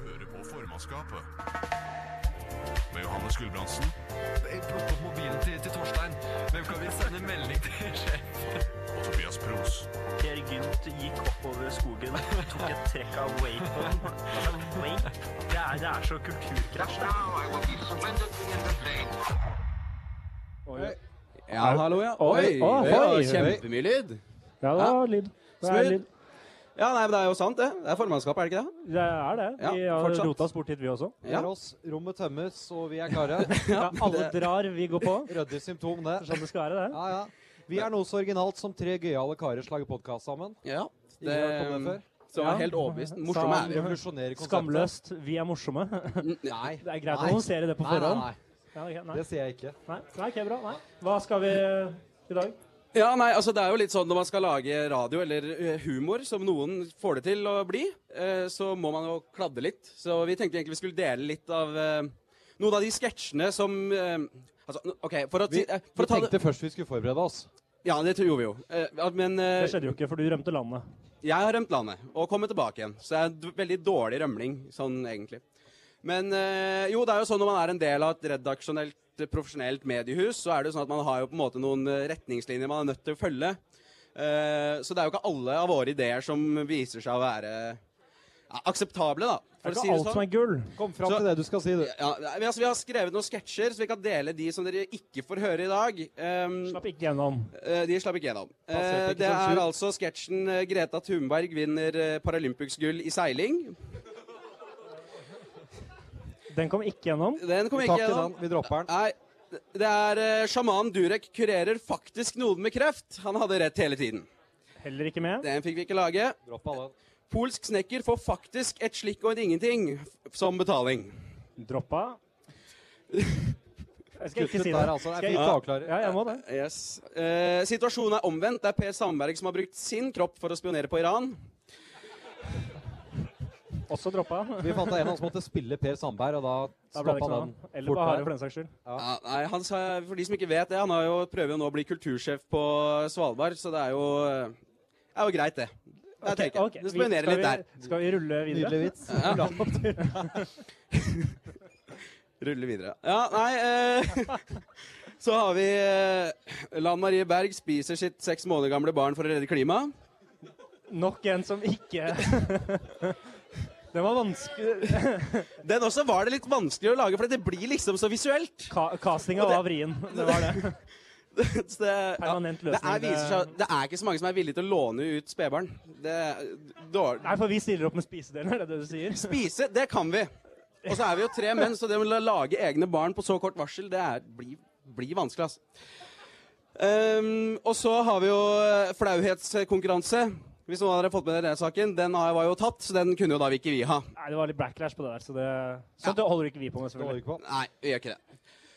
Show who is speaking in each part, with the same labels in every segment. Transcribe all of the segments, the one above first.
Speaker 1: og formannskapet. Med Johannes Gulbrandsen.
Speaker 2: Plukk opp mobilen til, til Torstein. Hvem kan vi sende melding til? sjef?
Speaker 1: Og Tobias Pros.
Speaker 3: Per Gynt gikk oppover skogen, tok et trekk av wapen. Altså, wake? Det er, det er så kulturkrasj. det.
Speaker 4: Ja, hallo, ja.
Speaker 5: Oi,
Speaker 4: Oi,
Speaker 5: ohoi,
Speaker 4: det var
Speaker 5: oi.
Speaker 4: kjempemye lyd.
Speaker 5: Ja, det var lyd. Det er,
Speaker 4: Smooth.
Speaker 5: lyd.
Speaker 4: Ja, nei, men det er jo sant, det. Det er formannskapet, er det ikke det?
Speaker 5: det er det.
Speaker 4: Ja,
Speaker 5: Vi har
Speaker 4: fortsatt.
Speaker 5: rota oss bort hit, vi også.
Speaker 4: Ja.
Speaker 6: Gjør oss, rommet tømmes, og vi er klare.
Speaker 5: Ja, alle drar, vi går på.
Speaker 6: Ryddig symptom, det.
Speaker 5: Sånn det skal være, det.
Speaker 6: Ja, ja. Vi er noe så originalt som tre gøyale karer slager podkast sammen.
Speaker 4: Ja.
Speaker 6: Ingen har hørt om det før.
Speaker 4: som
Speaker 5: Ja.
Speaker 4: er helt overbevist. Morsomme
Speaker 5: Sa
Speaker 4: er vi.
Speaker 6: Revolusjonerer konseptet.
Speaker 5: um, Skamløst. Vi er morsomme.
Speaker 4: Nei.
Speaker 5: Det er greit å
Speaker 6: Nei.
Speaker 5: annonsere det på
Speaker 6: Nei, nei,
Speaker 5: forhånd.
Speaker 6: nei.
Speaker 5: Ja, ok, Nei,
Speaker 6: Det sier jeg ikke.
Speaker 5: nei. nei, ok, bra. Nei. Hva skal vi eh, i dag?
Speaker 4: Ja, nei, altså Det er jo litt sånn når man skal lage radio eller eh, humor, som noen får det til å bli, eh, så må man jo kladde litt. Så vi tenkte egentlig vi skulle dele litt av eh, noen av de sketsjene som eh, Altså, n- OK, for å,
Speaker 6: Vi,
Speaker 4: ti- eh,
Speaker 6: vi
Speaker 4: for å ta det
Speaker 6: tenkte først vi skulle forberede oss.
Speaker 4: Ja, det gjorde vi jo. Eh, ja, men eh,
Speaker 5: Det skjedde jo ikke, for du rømte landet.
Speaker 4: Jeg har rømt landet og kommet tilbake igjen, så jeg er en d- veldig dårlig rømling, sånn egentlig. Men eh, jo, det er jo sånn når man er en del av et redaksjonelt, eh, profesjonelt mediehus, så er det jo sånn at man har jo på en måte noen eh, retningslinjer man er nødt til å følge. Eh, så det er jo ikke alle av våre ideer som viser seg å være ja, akseptable, da.
Speaker 5: Det
Speaker 4: For
Speaker 5: er
Speaker 4: å si
Speaker 5: ikke
Speaker 4: det
Speaker 5: alt som
Speaker 4: sånn.
Speaker 5: er gull.
Speaker 6: Kom fram
Speaker 4: Så-
Speaker 6: til det du skal si, du.
Speaker 4: Ja, vi, altså, vi har skrevet noen sketsjer, så vi kan dele de som dere ikke får høre i dag. Um,
Speaker 5: Slapp ikke gjennom.
Speaker 4: Eh, de slapp ikke gjennom.
Speaker 6: Passerte
Speaker 4: Eh,
Speaker 6: ikke
Speaker 4: det
Speaker 6: sensur.
Speaker 4: er altså sketsjen eh, Greta Thunberg vinner eh, Paralympics-gull i seiling.
Speaker 5: Den kom ikke gjennom.
Speaker 4: Den kom ikke
Speaker 6: Takk til den.
Speaker 4: gjennom.
Speaker 6: Vi dropper den.
Speaker 4: Nei, det er eh, sjaman Durek kurerer faktisk noen med kreft. Han hadde rett hele tiden.
Speaker 5: Heller ikke med.
Speaker 4: Den fikk vi ikke lage.
Speaker 6: Droppa den.
Speaker 4: Polsk snekker får faktisk et slikk og en ingenting f- som betaling.
Speaker 5: Droppa. Jeg skal ikke
Speaker 6: Kuttet
Speaker 5: si det.
Speaker 6: der, altså. Det
Speaker 5: Skal
Speaker 6: er
Speaker 5: jeg-
Speaker 6: fint å avklare.
Speaker 5: Ja, jeg må det.
Speaker 4: Yes. Eh, situasjonen er omvendt. Det er Per Sandberg som har brukt sin kropp for å spionere på Iran.
Speaker 5: Også droppa.
Speaker 6: Vi fant en av oss som måtte spille Per Sandberg, og da
Speaker 5: Da ble det
Speaker 6: stoppa
Speaker 5: ikke
Speaker 6: den.
Speaker 5: noe. Eller
Speaker 6: fort
Speaker 5: Bahare,
Speaker 6: der.
Speaker 5: for den saks skyld.
Speaker 4: Ja, nei, han sa, for de som ikke vet det, han har jo, prøver jo nå å bli kultursjef på Svalbard, så det er jo, eh, er jo greit, det. Det er
Speaker 5: Ok,
Speaker 4: tøyke.
Speaker 5: ok,
Speaker 4: Det
Speaker 5: vi-
Speaker 4: spionerer
Speaker 5: skal
Speaker 4: litt der.
Speaker 5: vi- Skal vi rulle videre?
Speaker 6: Nydelig vits.
Speaker 4: Ruller videre. Ja, nei eh, Så har vi eh, Lan Marie Berg spiser sitt seks måneder gamle barn for å redde klimaet.
Speaker 5: Nok en som ikke Den var vanskelig.
Speaker 4: Den også var det litt vanskelig å lage, for det blir liksom så visuelt.
Speaker 5: Ka castinga var vrien. Det var det.
Speaker 4: Så det, ja,
Speaker 5: Permanent
Speaker 4: det,
Speaker 5: løsning.
Speaker 4: er, viser seg, det er ikke så mange som er villige til å låne ut spedbarn. Det er dårlig.
Speaker 5: Nei, for vi stiller opp med spisedelen, er det det du sier?
Speaker 4: Spise, det kan vi. Og så er vi jo tre menn, så det å la- lage egne barn på så kort varsel, det er, blir, blir vanskelig, ass. Ehm, og så har vi jo eh, flauhetskonkurranse. Hvis noen av dere har fått med dere den saken. Den har- var jo tatt, så den kunne jo da ikke vi ha.
Speaker 5: Nei, det var litt backlash på det der, så det Sånt det holder ikke vi på med,
Speaker 6: Det holder vi
Speaker 5: selvfølgelig.
Speaker 6: ikke på.
Speaker 4: Nei, vi gjør ikke det.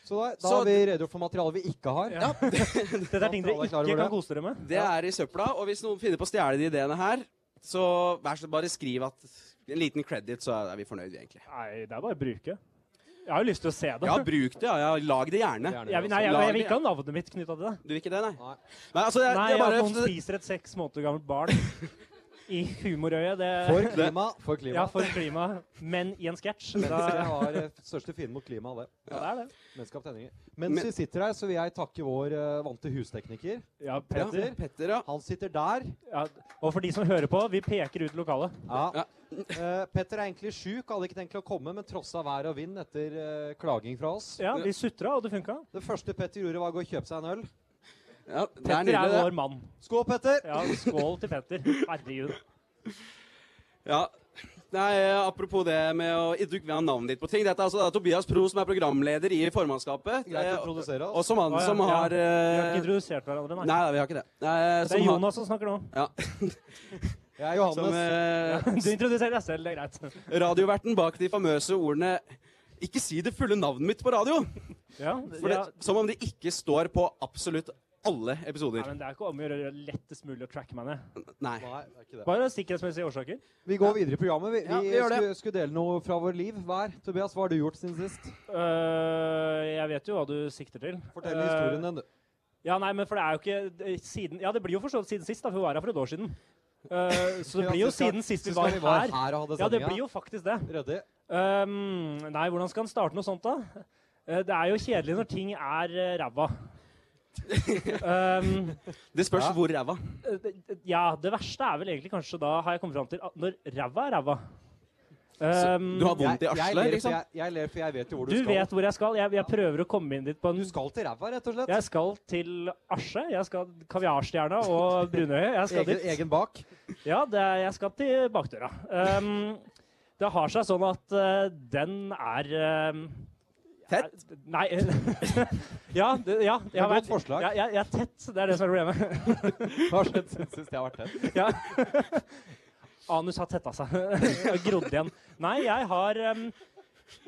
Speaker 6: Så da, da
Speaker 4: Så-
Speaker 6: har vi redegjort for materialet vi ikke har.
Speaker 5: Ja. Dette er ting dere
Speaker 6: Alle er klar over
Speaker 5: ikke kan
Speaker 6: det?
Speaker 5: kose dere med.
Speaker 4: Det er i søpla, og hvis noen finner på å stjele de ideene her, så vær så bare skriv at en liten credit, så er vi fornøyd, egentlig.
Speaker 5: Nei, det er bare å bruke. Jeg har jo lyst til å se det.
Speaker 4: Ja, bruk det, ja. ja. Lag det gjerne.
Speaker 6: Gjerne.
Speaker 5: Jeg, vil- nei, jeg, jeg, vil ikke ha navnet mitt knytta til det.
Speaker 4: Du vil ikke det, nei?
Speaker 6: Nei.
Speaker 4: Nei, altså, det, er-
Speaker 5: Nei, sånn
Speaker 4: det er
Speaker 5: at
Speaker 4: bare
Speaker 5: noen spiser et seks måneder gammelt barn i humorøyet, det
Speaker 6: For klima, for klima.
Speaker 5: Ja, for klimaet, men i en sketsj.
Speaker 6: Men
Speaker 5: Da-
Speaker 6: jeg har eh, største fienden mot klima, det.
Speaker 5: Ja, det er det.
Speaker 6: Menneskeskapt endringer. Mens
Speaker 4: Men-
Speaker 6: vi sitter her, så vil jeg takke vår eh, vante hustekniker.
Speaker 5: Ja,
Speaker 4: Ja,
Speaker 5: Petter.
Speaker 4: Petter, ja.
Speaker 6: Han sitter der.
Speaker 5: Ja, og for de som hører på, vi peker ut lokalet.
Speaker 6: Ja.
Speaker 4: Ja.
Speaker 6: Eh, Petter er egentlig sjuk, hadde ikke tenkt å komme, men trossa vær og vind etter eh, klaging fra oss.
Speaker 5: Ja, vi sutra, og det funka.
Speaker 6: Det første Petter gjorde, var å gå og kjøpe seg en øl.
Speaker 4: ja det er
Speaker 5: Petter
Speaker 4: nydelig,
Speaker 5: er
Speaker 4: det.
Speaker 5: vår mann.
Speaker 6: Skål, Petter!
Speaker 5: Ja, skål til Petter. Herregud.
Speaker 4: Ja. Nei, eh, Apropos det med å idugve navnet ditt på ting. Dette er altså da Tobias Pro som er programleder i formannskapet.
Speaker 6: Greit
Speaker 4: eh,
Speaker 6: å introdusere
Speaker 4: og
Speaker 6: oss.
Speaker 4: som han
Speaker 5: Å, ja,
Speaker 4: som
Speaker 5: ja.
Speaker 4: har
Speaker 5: Vi har
Speaker 4: eh,
Speaker 5: ikke introdusert hverandre,
Speaker 4: Nei,
Speaker 5: nei.
Speaker 4: nei, vi har ikke det. Nei, eh,
Speaker 5: Det
Speaker 4: som
Speaker 5: er
Speaker 4: han-
Speaker 5: Jonas som snakker nå.
Speaker 4: Ja,
Speaker 6: Jeg er
Speaker 4: som
Speaker 6: Johannes.
Speaker 4: eh,
Speaker 5: Du introduserer deg selv, det er greit.
Speaker 4: radioverten bak de famøse ordene Ikke si det fulle navnet mitt på radio!
Speaker 5: Ja,
Speaker 4: For det,
Speaker 5: ja.
Speaker 4: Som om det ikke står på absolutt alle
Speaker 5: Nei,
Speaker 4: episoder.
Speaker 5: men Det er ikke om å gjøre det lettest mulig å tracke meg ned.
Speaker 4: Nei.
Speaker 6: Nei, det er ikke det.
Speaker 5: Bare av sikkerhetsmessige årsaker.
Speaker 6: Vi går videre i programmet. Vi, vi,
Speaker 4: Ja, vi gjør det.
Speaker 6: skulle, skulle dele noe fra vår liv hver. Tobias, hva har du gjort siden sist?
Speaker 5: Øh, jeg vet jo hva du sikter til.
Speaker 6: Fortell
Speaker 4: Eh,
Speaker 5: Øh,
Speaker 6: historien din, du.
Speaker 5: eh, Ja, nei, men for det er jo ikke siden, Ja, det blir jo forstått siden sist, da, for vi var her for et år siden. Eh, så det
Speaker 6: Ja,
Speaker 5: blir jo
Speaker 6: så skal-
Speaker 5: siden sist
Speaker 6: så
Speaker 5: vi
Speaker 6: skal
Speaker 5: var
Speaker 6: vi være
Speaker 5: her.
Speaker 6: her og hadde
Speaker 5: Ja, det
Speaker 6: sendinga.
Speaker 5: blir jo faktisk det.
Speaker 6: Ryddig.
Speaker 5: Ehm, nei, hvordan skal en starte noe sånt, da? Eh, det er jo kjedelig når ting er eh, ræva. Ehm,
Speaker 4: Det spørs
Speaker 6: Ja.
Speaker 4: hvor ræva.
Speaker 5: eh, det- det- ja, det verste er vel egentlig kanskje da har jeg kommet fram til at når ræva er ræva.
Speaker 4: Så
Speaker 5: Ehm,
Speaker 4: Du har vondt i
Speaker 6: Jeg, jeg,
Speaker 4: arslet,
Speaker 6: ler, for
Speaker 4: liksom?
Speaker 6: jeg, jeg ler, for jeg vet jo hvor du,
Speaker 5: du
Speaker 6: skal.
Speaker 5: vet hvor jeg skal. Jeg, jeg prøver å komme inn dit på en
Speaker 6: Du skal til ræva, rett og slett.
Speaker 5: Jeg skal til Asje. Jeg skal Kaviarstjerna og Brunøyet. Jeg skal
Speaker 6: Egen,
Speaker 5: dit.
Speaker 6: egen bak.
Speaker 5: Ja, det er, jeg skal til bakdøra. Ehm, det har seg sånn at eh, den er ehm,
Speaker 4: Tett?
Speaker 5: Er, nei ja, det, ja. Jeg har
Speaker 6: godt
Speaker 5: vært,
Speaker 6: forslag.
Speaker 5: Jeg, jeg, jeg er tett. Det er det som er problemet.
Speaker 6: Hva har skjedd siden sist jeg har vært her?
Speaker 5: Ja. Anus har tetta seg og grodd igjen. Nei, jeg har ehm,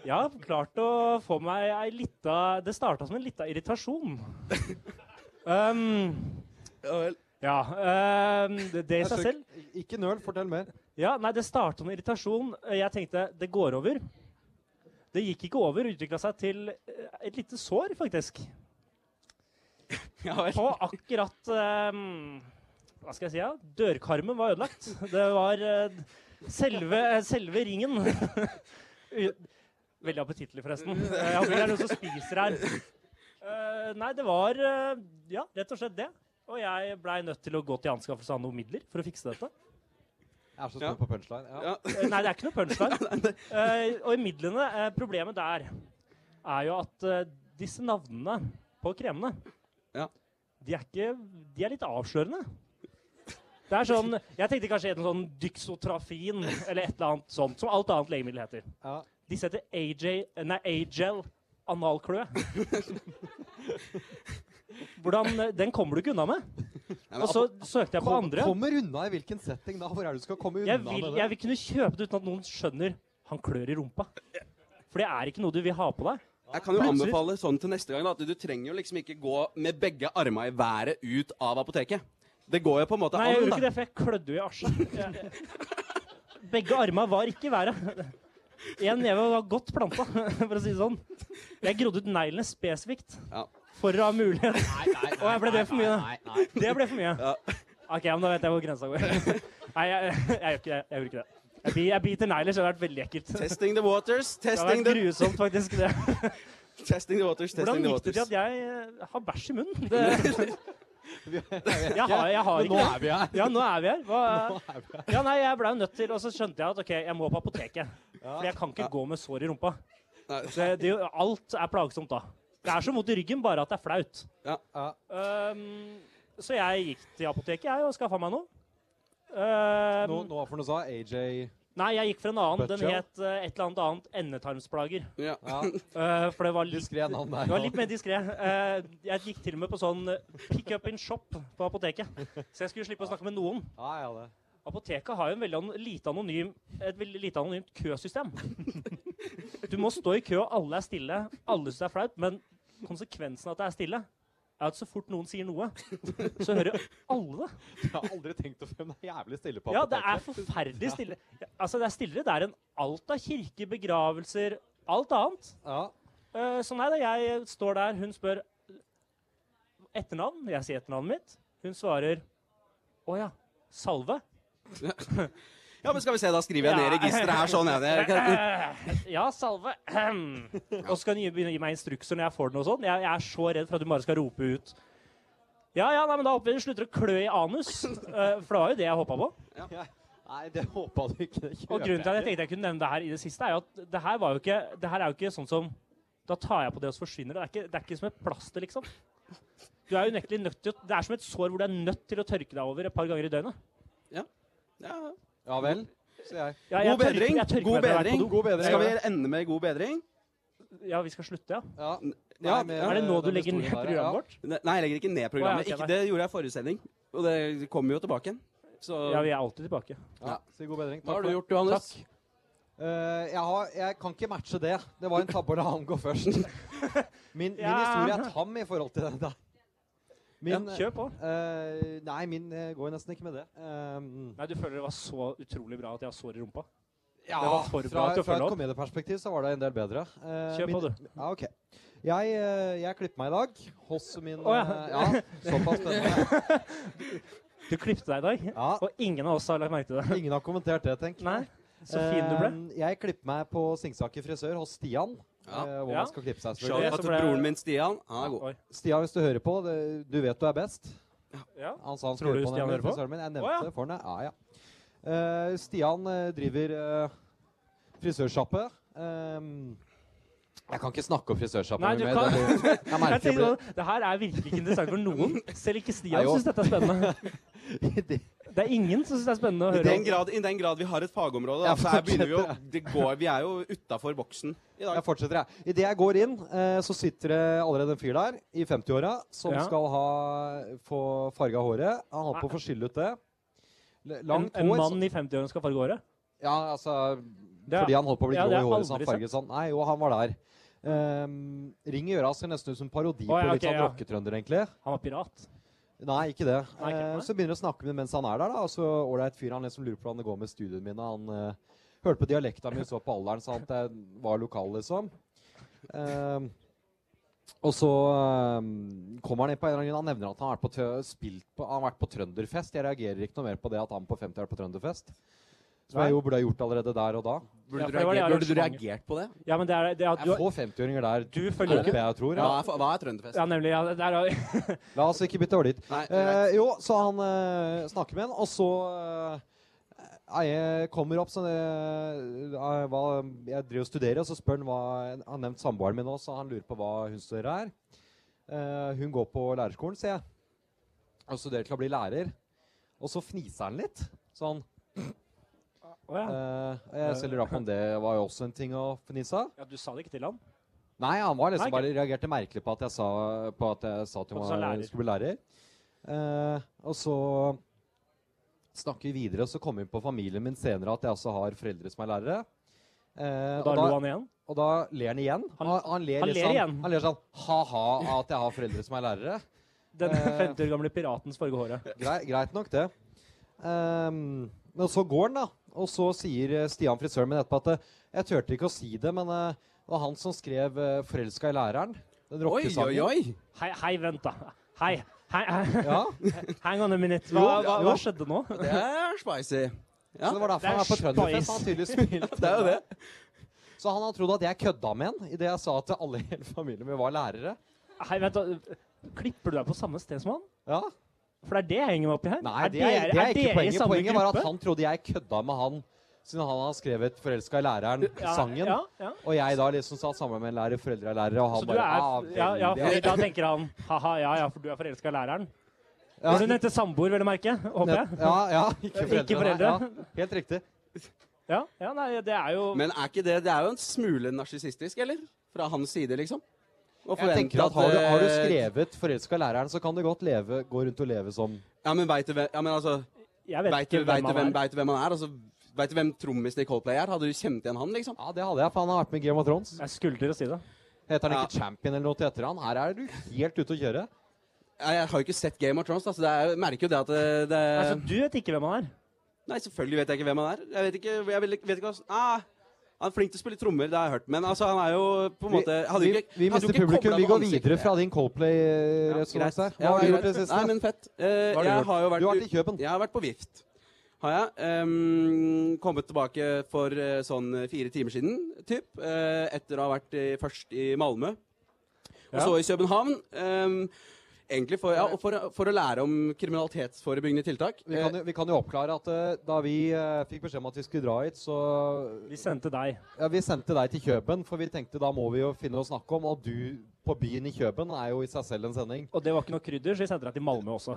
Speaker 5: Jeg har klart å få meg ei lita Det starta som en lita irritasjon. Ehm,
Speaker 4: Ja vel.
Speaker 5: ja. ehm, det, det i
Speaker 6: Jeg
Speaker 5: seg
Speaker 6: søker-
Speaker 5: selv
Speaker 6: Altså, Ikke nøl, fortell mer.
Speaker 5: Ja, nei, det starta med irritasjon. Eh, Jeg tenkte det går over. Det gikk ikke over. Utvikla seg til eh, et lite sår, faktisk.
Speaker 4: Ja vel.
Speaker 5: På akkurat eh, Hva skal jeg si? Ja? Dørkarmen var ødelagt. Det var eh, selve, eh, selve ringen. U- Veldig appetittlig, forresten. Eh, Jeg håper det er noen som spiser her. Eh, nei, det var eh, ja, rett og slett det. Og jeg blei nødt til å gå til anskaffelse av noen midler for å fikse dette.
Speaker 6: Jeg er så
Speaker 4: Ja.
Speaker 6: spent på punchline. Ja.
Speaker 4: Ja.
Speaker 5: Eh, Nei, det er ikke noe punchline. Eh, og i midlene, eh, problemet der er jo at eh, disse navnene på kremene,
Speaker 4: Ja.
Speaker 5: de er ikke De er litt avslørende. Det er sånn Jeg tenkte kanskje en sånn dyksotrafin eller et eller annet sånt, som alt annet legemiddel heter.
Speaker 6: Ja.
Speaker 5: Disse heter AJ eh, Nei, Agel analkløe. Hvordan eh, Den kommer du ikke unna med.
Speaker 4: Nei, men
Speaker 5: Og så søkte jeg på
Speaker 6: Kom,
Speaker 5: andre.
Speaker 6: kommer unna i hvilken setting da? Hvor er det du skal komme unna
Speaker 5: Jeg vil,
Speaker 6: med det?
Speaker 5: jeg vil kunne kjøpe det uten at noen skjønner han klør i rumpa. For det er ikke noe du vil ha på deg.
Speaker 4: Jeg kan jo
Speaker 5: Plutselig-
Speaker 4: anbefale sånn til neste gang da, at du trenger jo liksom ikke gå med begge armene i været ut av apoteket. Det går jo på en måte
Speaker 5: Nei, jeg
Speaker 4: an,
Speaker 5: gjorde ikke
Speaker 4: da.
Speaker 5: det, for jeg klødde jo i asja. Begge armene var ikke i været. Én neve var godt planta, for å si det sånn. Jeg grodde ut neglene spesifikt
Speaker 4: Ja.
Speaker 5: for å ha mulighet.
Speaker 6: Nei,
Speaker 5: Å, jeg ble det for mye, da.
Speaker 6: Nei, nei, nei.
Speaker 5: Det ble for mye. OK, men da vet jeg hvor grensa går. Nei, jeg, jeg, gjør ikke det. Jeg gjorde ikke det. Jeg, bi- jeg biter negler, så det har vært veldig ekkelt. Det
Speaker 4: Testing the waters,
Speaker 5: har
Speaker 4: testing
Speaker 5: vært
Speaker 4: the,
Speaker 5: grusomt, faktisk. det.
Speaker 4: testing the waters, testing
Speaker 5: Hvordan
Speaker 4: the
Speaker 5: gikk det til
Speaker 4: waters.
Speaker 5: at jeg eh, har bæsj i munnen? Det, jeg har, jeg har
Speaker 6: Men
Speaker 5: ikke
Speaker 6: nå
Speaker 5: det.
Speaker 6: er vi her.
Speaker 5: Ja, nå er vi her. Hva,
Speaker 6: Nå er vi her.
Speaker 5: ja, nei, jeg ble jo nødt til, og så skjønte jeg at ok, jeg må på apoteket. For jeg kan ikke gå med sår i rumpa. Det,
Speaker 4: Nei.
Speaker 5: det, er jo- alt er plagsomt da. Det er så vondt i ryggen, bare at det er flaut.
Speaker 6: Ja.
Speaker 5: Ehm, så jeg gikk til apoteket jeg, og skaffa meg noe. Ehm,
Speaker 6: Nå, nå for noe sa AJ
Speaker 5: nei, jeg gikk for en annen. Den
Speaker 6: Butchell?
Speaker 5: het eh, et eller annet annet endetarmsplager.
Speaker 4: Ja.
Speaker 6: ja,
Speaker 5: Eh, for det var litt
Speaker 6: Diskré navn der.
Speaker 5: det var litt mer diskré. Eh, Jeg gikk til og med på sånn eh, pick up in shop på apoteket. Så jeg skulle slippe å snakke med noen.
Speaker 6: Ja, ja, det.
Speaker 5: Apoteket har jo en veldig an lite anonym, et veldig lite anonymt køsystem. Du må stå i kø, og alle er stille. Alle syns det er flaut, men konsekvensen av at det er stille, er at så fort noen sier noe, så hører alle det.
Speaker 6: Jeg har aldri tenkt å finne det er jævlig stille på
Speaker 5: Ja, det er
Speaker 6: apoteket.
Speaker 5: forferdelig stille. Ja, Altså, det er stillere der enn alt av kirke, begravelser, alt annet.
Speaker 6: Ja.
Speaker 5: Eh, Så nei da, jeg står der, hun spør etternavn. Jeg sier etternavnet mitt. Hun svarer å ja, Salve.
Speaker 4: ja, men skal vi se, da skriver
Speaker 5: Ja.
Speaker 4: jeg ned registeret her sånn. Ja. Det-
Speaker 5: Ja, salve. Ahem. Og så skal han begynne å gi meg instrukser når jeg får den og sånn. Jeg, jeg er så redd for at du bare skal rope ut Ja, ja, nei, men da håper jeg du slutter å klø i anus. Eh, For det var jo det jeg håpa på.
Speaker 6: Nei, det håpa du ikke. Det
Speaker 5: Og grunnen til at jeg tenkte jeg kunne nevne det her i det siste, er jo at det her, var jo ikke, det her er jo ikke sånn som Da tar jeg på det, og så forsvinner det. Det er ikke, det er ikke som et plaster, liksom. Du er unektelig nødt til å Det er som et sår hvor du er nødt til å tørke deg over et par ganger i døgnet.
Speaker 4: Ja.
Speaker 6: Ja vel, sier jeg.
Speaker 5: Ja, jeg
Speaker 4: God
Speaker 5: tørker-
Speaker 4: bedring.
Speaker 5: jeg tørker
Speaker 4: God
Speaker 5: meg når jeg er på
Speaker 4: bedring.
Speaker 5: do.
Speaker 6: God bedring.
Speaker 4: Skal vi ende med god bedring?
Speaker 5: Ja, vi skal slutte, ja.
Speaker 6: Ja.
Speaker 4: Ja,
Speaker 6: med
Speaker 5: Er det nå du
Speaker 6: den
Speaker 5: legger ned
Speaker 6: historien der, ja.
Speaker 5: programmet vårt?
Speaker 4: Ne- Nei, jeg legger ikke ned
Speaker 5: Å,
Speaker 4: programmet.
Speaker 5: ja, ok,
Speaker 4: Ikke, det gjorde jeg i forrige sending, og det kommer jo tilbake igjen. Så
Speaker 5: Ja, vi er alltid tilbake.
Speaker 6: Ja. Si god bedring.
Speaker 4: hva
Speaker 6: Takk
Speaker 4: har du
Speaker 6: for det.
Speaker 4: gjort, Johannes?
Speaker 5: Takk.
Speaker 6: Eh, jeg, har, jeg kan ikke matche det. Det var en tabbe å la han gå først. Min, min
Speaker 5: Ja.
Speaker 6: historie er tam i forhold til den der. Min,
Speaker 5: Kjør på.
Speaker 6: eh, nei, min eh, går nesten ikke med det. Eh,
Speaker 5: Nei, du føler det var så utrolig bra at jeg har sår i rumpa?
Speaker 6: ja,
Speaker 5: Det var for bra
Speaker 6: fra,
Speaker 5: til å
Speaker 6: fra
Speaker 5: følge
Speaker 6: et
Speaker 5: opp.
Speaker 6: komedieperspektiv så var det en del bedre. Eh,
Speaker 5: Kjør på,
Speaker 6: min-
Speaker 5: du.
Speaker 6: Ja, ok. Jeg, eh, jeg klipper meg i dag hos min
Speaker 5: Å, ja.
Speaker 6: eh, ja, såpass spennende.
Speaker 5: Du klippte deg i dag,
Speaker 6: Ja,
Speaker 5: og ingen av oss har lagt merke til det.
Speaker 6: Ingen har kommentert det, tenk.
Speaker 5: Nei, så fin du ble.
Speaker 6: Eh, Jeg klipper meg på Singsaker frisør hos Stian.
Speaker 4: Ja.
Speaker 6: eh, Hvor
Speaker 5: Ja.
Speaker 6: man skal klippe seg.
Speaker 5: Shout
Speaker 6: selvfølgelig.
Speaker 5: out.
Speaker 4: Shout-out til broren min Stian. Han er god.
Speaker 5: Oi.
Speaker 6: Stian, hvis du hører på, det- du vet du er best.
Speaker 5: Ja.
Speaker 6: Han sa han
Speaker 5: Tror
Speaker 6: skulle
Speaker 5: du
Speaker 6: høre på,
Speaker 5: Stian
Speaker 6: nemlig,
Speaker 5: hører på?
Speaker 6: frisøren min. Jeg
Speaker 5: Å,
Speaker 6: nevnte
Speaker 5: ja.
Speaker 6: det for ham. Ja, ja. Eh, Stian eh, driver eh, frisørsjappe. Ehm, jeg kan ikke snakke om frisørsjappe mer.
Speaker 5: Nei, du
Speaker 6: Det,
Speaker 5: kan-
Speaker 6: blir- jeg
Speaker 5: Jeg
Speaker 6: merker det
Speaker 5: tenker
Speaker 6: blir-
Speaker 5: sånn, Det her er virkelig ikke interessant for noen. Selv ikke
Speaker 6: Nei,
Speaker 5: Stian
Speaker 6: jo.
Speaker 5: syns dette er spennende.
Speaker 6: I de-
Speaker 5: Det er ingen som syns det er spennende å
Speaker 4: I
Speaker 5: høre
Speaker 4: den
Speaker 5: om.
Speaker 4: grad, i den grad vi har et fagområde, da,
Speaker 6: Ja,
Speaker 4: så her begynner vi jo
Speaker 6: fortsetter,
Speaker 4: det går, Vi er jo utafor boksen i dag.
Speaker 6: Jeg fortsetter, jeg. Idet jeg går inn, eh, så sitter det allerede en fyr der i 50-åra som
Speaker 5: Ja.
Speaker 6: skal ha, få farga håret. Han holdt på å få skylle ut det. L-
Speaker 5: En,
Speaker 6: Langt
Speaker 5: en
Speaker 6: hår.
Speaker 5: mann i 50-årene skal farge håret?
Speaker 6: så- Ja, altså
Speaker 5: Det er-
Speaker 6: Fordi han holdt på å bli
Speaker 5: ja,
Speaker 6: grå
Speaker 5: det
Speaker 6: i
Speaker 5: har jeg
Speaker 6: håret, så han
Speaker 5: aldri
Speaker 6: farget sånn. Nei, jo, han var der. Ehm, ring i øra ser nesten ut som en parodi
Speaker 5: Å, ja,
Speaker 6: på litt sånn
Speaker 5: ok, ja.
Speaker 6: rocketrønder, egentlig.
Speaker 5: Han var pirat.
Speaker 6: Nei, ikke det.
Speaker 5: Nei, ikke-
Speaker 6: Eh,
Speaker 5: nei.
Speaker 6: så begynner jeg å snakke med ham mens han er der, da. Og så ålreit fyr, han liksom lurer på hvordan det går med studiene mine. Han eh, hørte på dialekta mi, så på alderen, sa at jeg var lokal, liksom. Ehm, og så ehm, kommer han inn på en eller annen grunn. Han nevner at han har, vært på tø- spilt på, han har vært på trønderfest. Jeg reagerer ikke noe mer på det at han på 50 har vært på trønderfest. Som
Speaker 5: Nei.
Speaker 6: jeg jo burde ha gjort allerede der og da.
Speaker 5: Ja, for
Speaker 4: Burde, du
Speaker 5: det var det
Speaker 4: reagert, burde du
Speaker 5: arrangementet.
Speaker 4: reagert på det?
Speaker 5: Ja, men det er, det er,
Speaker 6: Jeg
Speaker 5: du,
Speaker 6: får 50-åringer der.
Speaker 5: du
Speaker 6: håper
Speaker 5: følger ikke
Speaker 6: jeg, tror.
Speaker 4: Hva
Speaker 6: Ja.
Speaker 4: er, hva er Trønderfest?
Speaker 5: Ja, nemlig. Ja, det er,
Speaker 6: La oss ikke bytte over dit.
Speaker 4: Nei,
Speaker 6: Eh,
Speaker 4: greit.
Speaker 6: jo, så han eh, snakker med han, og så eh, jeg kommer opp, så det, eh, hva, jeg driver og studerer, og så spør han hva Han har nevnt samboeren min nå, så han lurer på hva hun studerer her. Eh, hun går på lærerskolen, sier jeg, og studerer til å bli lærer. Og så fniser han litt. Sånn.
Speaker 5: Å ja.
Speaker 6: eh, og jeg selv lurer på om det var jo også en ting å fnise av.
Speaker 5: ja, du sa det ikke til han?
Speaker 6: Nei, han var liksom
Speaker 5: Nei,
Speaker 6: bare reagerte merkelig på at jeg sa, på at jeg sa at hun
Speaker 5: At du sa
Speaker 6: var-
Speaker 5: lærer.
Speaker 6: skulle bli lærer. Eh, og så snakker vi videre, og så kommer vi på familien min senere at jeg også har foreldre som er lærere. Eh,
Speaker 5: Da
Speaker 6: og,
Speaker 5: lo
Speaker 6: da,
Speaker 5: han igjen?
Speaker 6: og da ler han igjen.
Speaker 5: Han-
Speaker 6: Han, han, ler,
Speaker 5: han
Speaker 6: litt
Speaker 5: ler
Speaker 6: sånn-
Speaker 5: igjen.
Speaker 6: Han ler sånn ha-ha av at jeg har foreldre som er lærere.
Speaker 5: Den
Speaker 6: Eh.
Speaker 5: 50 år gamle piratens farge håret.
Speaker 6: Grei, greit nok, det. Ehm, men så går han, da. Og så sier eh, Stian frisøren min etterpå at eh, jeg turte ikke å si det, men eh, det var han som skrev eh, 'Forelska i læreren'. Den
Speaker 4: Oi, oi,
Speaker 6: rockesangen.
Speaker 4: oi!
Speaker 5: Hei, hei, vent, da. Hei. Hei, hei.
Speaker 6: Ja.
Speaker 5: Hang on a minute. Hva,
Speaker 4: Jo,
Speaker 5: hva,
Speaker 4: jo.
Speaker 5: hva skjedde nå?
Speaker 4: Det er spicy. Ja,
Speaker 6: Så det var derfor
Speaker 5: Det er
Speaker 6: han er på Trønderfest.
Speaker 5: spice.
Speaker 6: Han har tydelig spilt.
Speaker 4: det er jo det.
Speaker 6: Så han har trodd at jeg kødda med han idet jeg sa at alle i hele familien min var lærere.
Speaker 5: Hei, vent, da. Klipper du deg på samme sted som han?
Speaker 6: Ja.
Speaker 5: For det er det jeg henger meg opp i her.
Speaker 6: Nei, det er, det er ikke
Speaker 5: dere i
Speaker 6: poenget.
Speaker 5: samme
Speaker 6: Poenget var at
Speaker 5: gruppe?
Speaker 6: han trodde jeg kødda med han siden han har skrevet 'Forelska i
Speaker 5: Ja,
Speaker 6: læreren'-sangen.
Speaker 5: Ja, ja.
Speaker 6: Og jeg da liksom satt sammen med en lærer, foreldre er lærere, og han
Speaker 5: Så du
Speaker 6: bare ah,
Speaker 5: er, ja, ja,
Speaker 6: veldig.
Speaker 5: fordi da tenker han Haha, ja, ja, for du er forelska i læreren.
Speaker 6: Ja.
Speaker 5: Når du nevnte samboer, vil jeg merke. Håper jeg.
Speaker 6: Ja, ja, ikke foreldre.
Speaker 5: Ikke
Speaker 6: Nei,
Speaker 5: foreldre.
Speaker 6: ja, helt riktig.
Speaker 5: Ja, ja, nei, det er jo
Speaker 4: Men er ikke det Det er jo en smule narsissistisk, eller? Fra hans side, liksom. Å
Speaker 6: Jeg
Speaker 4: forvente
Speaker 6: tenker at Har du, har du
Speaker 4: eh,
Speaker 6: skrevet 'Forelska i læreren', så kan du godt leve, gå rundt og leve som
Speaker 4: Ja, men veit du hvem Ja, men altså
Speaker 5: Jeg vet
Speaker 4: Veit
Speaker 5: ikke
Speaker 4: du vet
Speaker 5: hvem
Speaker 4: du hvem,
Speaker 5: han er.
Speaker 4: vet du hvem han er? Altså, Veit du hvem trommisen i Coldplay er? Hadde du kjent igjen han, liksom?
Speaker 6: Ja, det hadde jeg, for han har vært med i Game of Thrones.
Speaker 5: Jeg skulle til å si det.
Speaker 6: Heter han
Speaker 4: Ja.
Speaker 6: ikke Champion eller noe til etter han? Her er du helt ute å kjøre.
Speaker 4: Ja, Jeg har jo ikke sett Game of Thrones, da, så det er, jeg merker jo det at det, det
Speaker 5: Altså, du vet ikke hvem han er?
Speaker 4: Nei, selvfølgelig vet jeg ikke hvem han er. Jeg vet ikke, jeg vet, vet ikke hva ah, Han er flink til å spille trommer, det har jeg hørt, men altså, han er jo på en måte hadde
Speaker 6: vi,
Speaker 4: jo ikke,
Speaker 6: vi
Speaker 4: hadde
Speaker 6: mister
Speaker 4: jo ikke
Speaker 6: publikum.
Speaker 4: koblet
Speaker 6: Vi
Speaker 4: på
Speaker 6: går
Speaker 4: ansiktet.
Speaker 6: videre fra din
Speaker 4: Ja,
Speaker 6: Coldplay-resonans
Speaker 4: greit.
Speaker 6: her. Hva har
Speaker 4: Ja,
Speaker 6: du gjort i det
Speaker 4: greit.
Speaker 6: siste?
Speaker 4: Nei, men fett. Eh,
Speaker 6: Hva har du
Speaker 4: jeg
Speaker 6: gjort?
Speaker 4: har jo vært,
Speaker 6: Du har vært i Køben.
Speaker 4: Jeg har vært på Vift. Har jeg. Ehm, kommet tilbake for eh, sånn fire timer siden, typ. eh, etter å ha vært eh, først i Malmö, og
Speaker 5: Ja.
Speaker 4: så i København. Ehm, egentlig for, ja, og for, for å lære om kriminalitetsforebyggende tiltak.
Speaker 6: Vi kan, jo, vi kan jo oppklare at eh, da vi eh, fikk beskjed om at vi skulle dra hit, så
Speaker 5: Vi sendte deg.
Speaker 6: ja, Vi sendte deg til Køben, for vi tenkte da må vi jo finne å snakke om. Og du på byen i Køben er jo i seg selv en sending.
Speaker 5: Og det var ikke noe krydder, så vi sendte deg til Malmö også.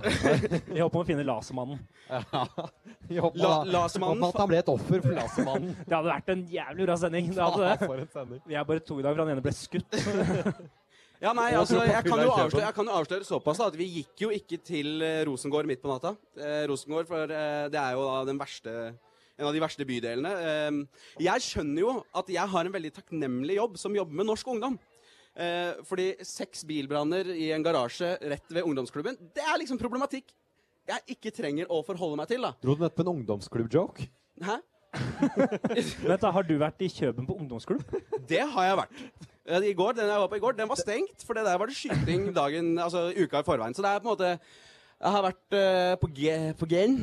Speaker 5: I håp om å finne Lasermannen.
Speaker 6: Vi håper
Speaker 4: La-
Speaker 6: da-
Speaker 4: Lasermannen-
Speaker 6: håper at han ble et offer for Lasermannen.
Speaker 5: Det hadde vært en jævlig bra sending. Det hadde
Speaker 6: Ja,
Speaker 5: det.
Speaker 6: for en sending.
Speaker 5: Vi er bare to i dag, for han ene ble skutt.
Speaker 4: Ja, nei,
Speaker 6: Og
Speaker 4: altså,
Speaker 6: apropos
Speaker 4: jeg kan,
Speaker 6: fylla i
Speaker 4: jo
Speaker 6: Køben.
Speaker 4: avsløre, jeg kan jo avsløre såpass da, at vi gikk jo ikke til eh, Rosengård midt på natta. Eh, Rosengård, for eh, det er jo da den verste, en av de verste bydelene. Eh, jeg skjønner jo at jeg har en veldig takknemlig jobb som jobber med norsk ungdom. Eh, fordi seks bilbranner i en garasje rett ved ungdomsklubben, det er liksom problematikk jeg ikke trenger å forholde meg til, da.
Speaker 6: Dro du nettopp en ungdomsklubb-joke?
Speaker 4: Hæ?
Speaker 5: Vent da, Har du vært i Kjøben på ungdomsklubb?
Speaker 4: Det har jeg vært. Eh, I går, Den jeg var på i går, den var stengt, for det der var det skyting dagen, altså uka i forveien. Så det er på en måte Jeg har vært eh, på, G på Gen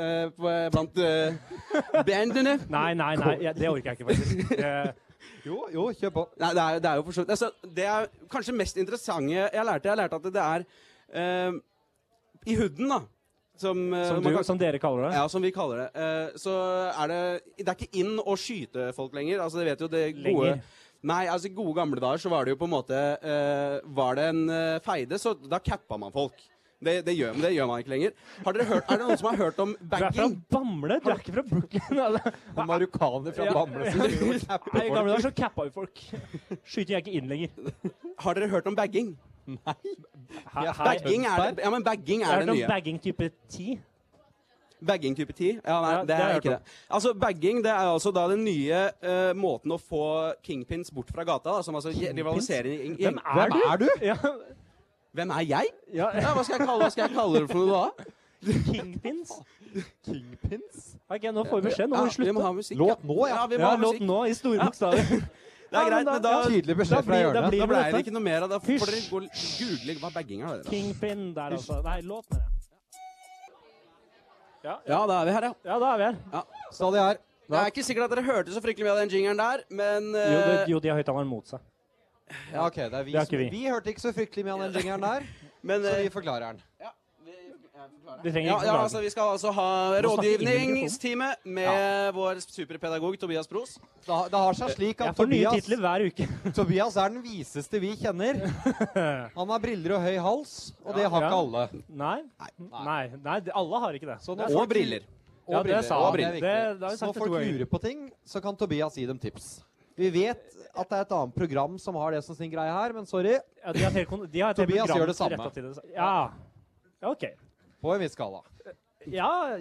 Speaker 4: eh, på- blant eh, bandene.
Speaker 5: Nei, nei, nei. jeg- det orker jeg ikke, faktisk. Eh,
Speaker 6: Jo, jo, kjør på.
Speaker 4: Nei, det er, jo- det er jo for så vidt altså, Det er kanskje mest interessante jeg lærte. Jeg lærte at det er eh, i hooden, da. Som, eh,
Speaker 5: som,
Speaker 4: man
Speaker 5: du,
Speaker 4: kan-
Speaker 5: som dere kaller det.
Speaker 4: Ja, som vi kaller det. Eh, så er det Det er ikke inn å skyte folk lenger. Altså, det vet jo det gode
Speaker 5: Lenger.
Speaker 4: Nei, altså i gode gamle dager så var det jo på en måte eh, Var det en eh, feide, så da cappa man folk. Det, det, gjør, det gjør man ikke lenger. Har dere hørt, er det noen som har hørt om
Speaker 5: Du er fra
Speaker 4: bagging?
Speaker 5: Bamble, du er ikke fra Brooklyn. altså.
Speaker 6: En marokkaner fra
Speaker 5: Ja.
Speaker 6: Bamble som driver og capper
Speaker 5: Nei, I
Speaker 6: folk.
Speaker 5: gamle dager så cappa jo folk. Skyter jeg ikke inn lenger.
Speaker 4: Har dere hørt om bagging?
Speaker 5: Her,
Speaker 6: Ja,
Speaker 5: her.
Speaker 4: Bagging er det, ja, men bagging
Speaker 5: Jeg har
Speaker 4: er
Speaker 5: hørt
Speaker 4: det
Speaker 5: om
Speaker 4: nye.
Speaker 5: bagging type 10.
Speaker 4: Bagging type 10? Ja, nei,
Speaker 5: Ja,
Speaker 4: det
Speaker 5: det har
Speaker 4: er
Speaker 5: jeg
Speaker 4: ikke
Speaker 5: hørt
Speaker 4: det. Altså, Bagging det er altså da den nye eh, måten å få kingpins bort fra gata, da, som altså rivaliserer i- i-
Speaker 5: Hvem er
Speaker 6: Hvem
Speaker 5: du?
Speaker 6: er du?
Speaker 5: Ja,
Speaker 4: Hvem er jeg?
Speaker 5: ja.
Speaker 4: Ja, hva skal jeg kalle, hva skal jeg kalle det for noe da?
Speaker 5: Kingpins.
Speaker 6: Kingpins?
Speaker 5: Ok, nå får vi beskjed. Nå må vi
Speaker 4: vi må
Speaker 5: slutte.
Speaker 4: ha musikk.
Speaker 6: Låt nå, ja.
Speaker 4: Ja, vi
Speaker 5: Ja,
Speaker 4: må ha
Speaker 5: låt
Speaker 4: musikk.
Speaker 5: nå i store bokstaver.
Speaker 4: Det er greit, men da,
Speaker 6: Tydelig beskjed fra
Speaker 5: blir- da
Speaker 6: hjørnet.
Speaker 5: blir-
Speaker 4: da ble det
Speaker 5: dette.
Speaker 4: ikke noe mer av det. Da får dere
Speaker 5: Hysj.
Speaker 4: gå og google hva bagging er. dere.
Speaker 5: Kingpin der, altså. Nei, låt med det.
Speaker 4: Ja, da er vi her, ja.
Speaker 5: Ja, da er vi her.
Speaker 6: Stadig her.
Speaker 4: Det er ikke sikkert at dere hørte så fryktelig mye av den jingeren der, men
Speaker 5: Jo, det,
Speaker 4: eh,
Speaker 5: jo de har høyttaleren mot seg.
Speaker 6: Ja, ok, det er vi,
Speaker 5: Det er ikke
Speaker 6: som, vi.
Speaker 5: vi.
Speaker 6: hørte ikke så fryktelig mye av den jingeren der,
Speaker 4: men,
Speaker 6: så
Speaker 4: eh,
Speaker 6: vi forklarer den.
Speaker 5: Vi trenger
Speaker 4: ja,
Speaker 5: ikke
Speaker 4: ja,
Speaker 5: forklare.
Speaker 4: altså, Vi skal altså ha rådgivningstime med vår superpedagog Tobias Pros.
Speaker 6: Det, har- det har seg slik
Speaker 5: Jeg
Speaker 6: at
Speaker 5: får nye
Speaker 6: Tobias,
Speaker 5: titler hver uke.
Speaker 6: Tobias er den viseste vi kjenner. Han har briller og høy hals, og det har
Speaker 5: Ja.
Speaker 6: ikke alle.
Speaker 5: Nei. Nei, nei, de- alle har ikke det.
Speaker 6: Så nå
Speaker 4: Og
Speaker 6: folk-
Speaker 4: briller.
Speaker 6: Og
Speaker 5: Ja, det
Speaker 6: briller.
Speaker 5: sa
Speaker 6: og
Speaker 5: han.
Speaker 6: briller.
Speaker 5: Det- det har vi
Speaker 6: så
Speaker 5: sagt
Speaker 6: når
Speaker 5: det
Speaker 6: folk
Speaker 5: to ganger.
Speaker 6: lurer på ting, så kan Tobias gi dem tips. Vi vet at det er et annet program som har det som sin greie her, men sorry.
Speaker 5: Ja, de har et helt kon- de har et helt
Speaker 6: Tobias
Speaker 5: program
Speaker 6: gjør det samme.
Speaker 5: rettet til det. Ja. Ja, OK.
Speaker 6: På en viss skala.
Speaker 5: Ja,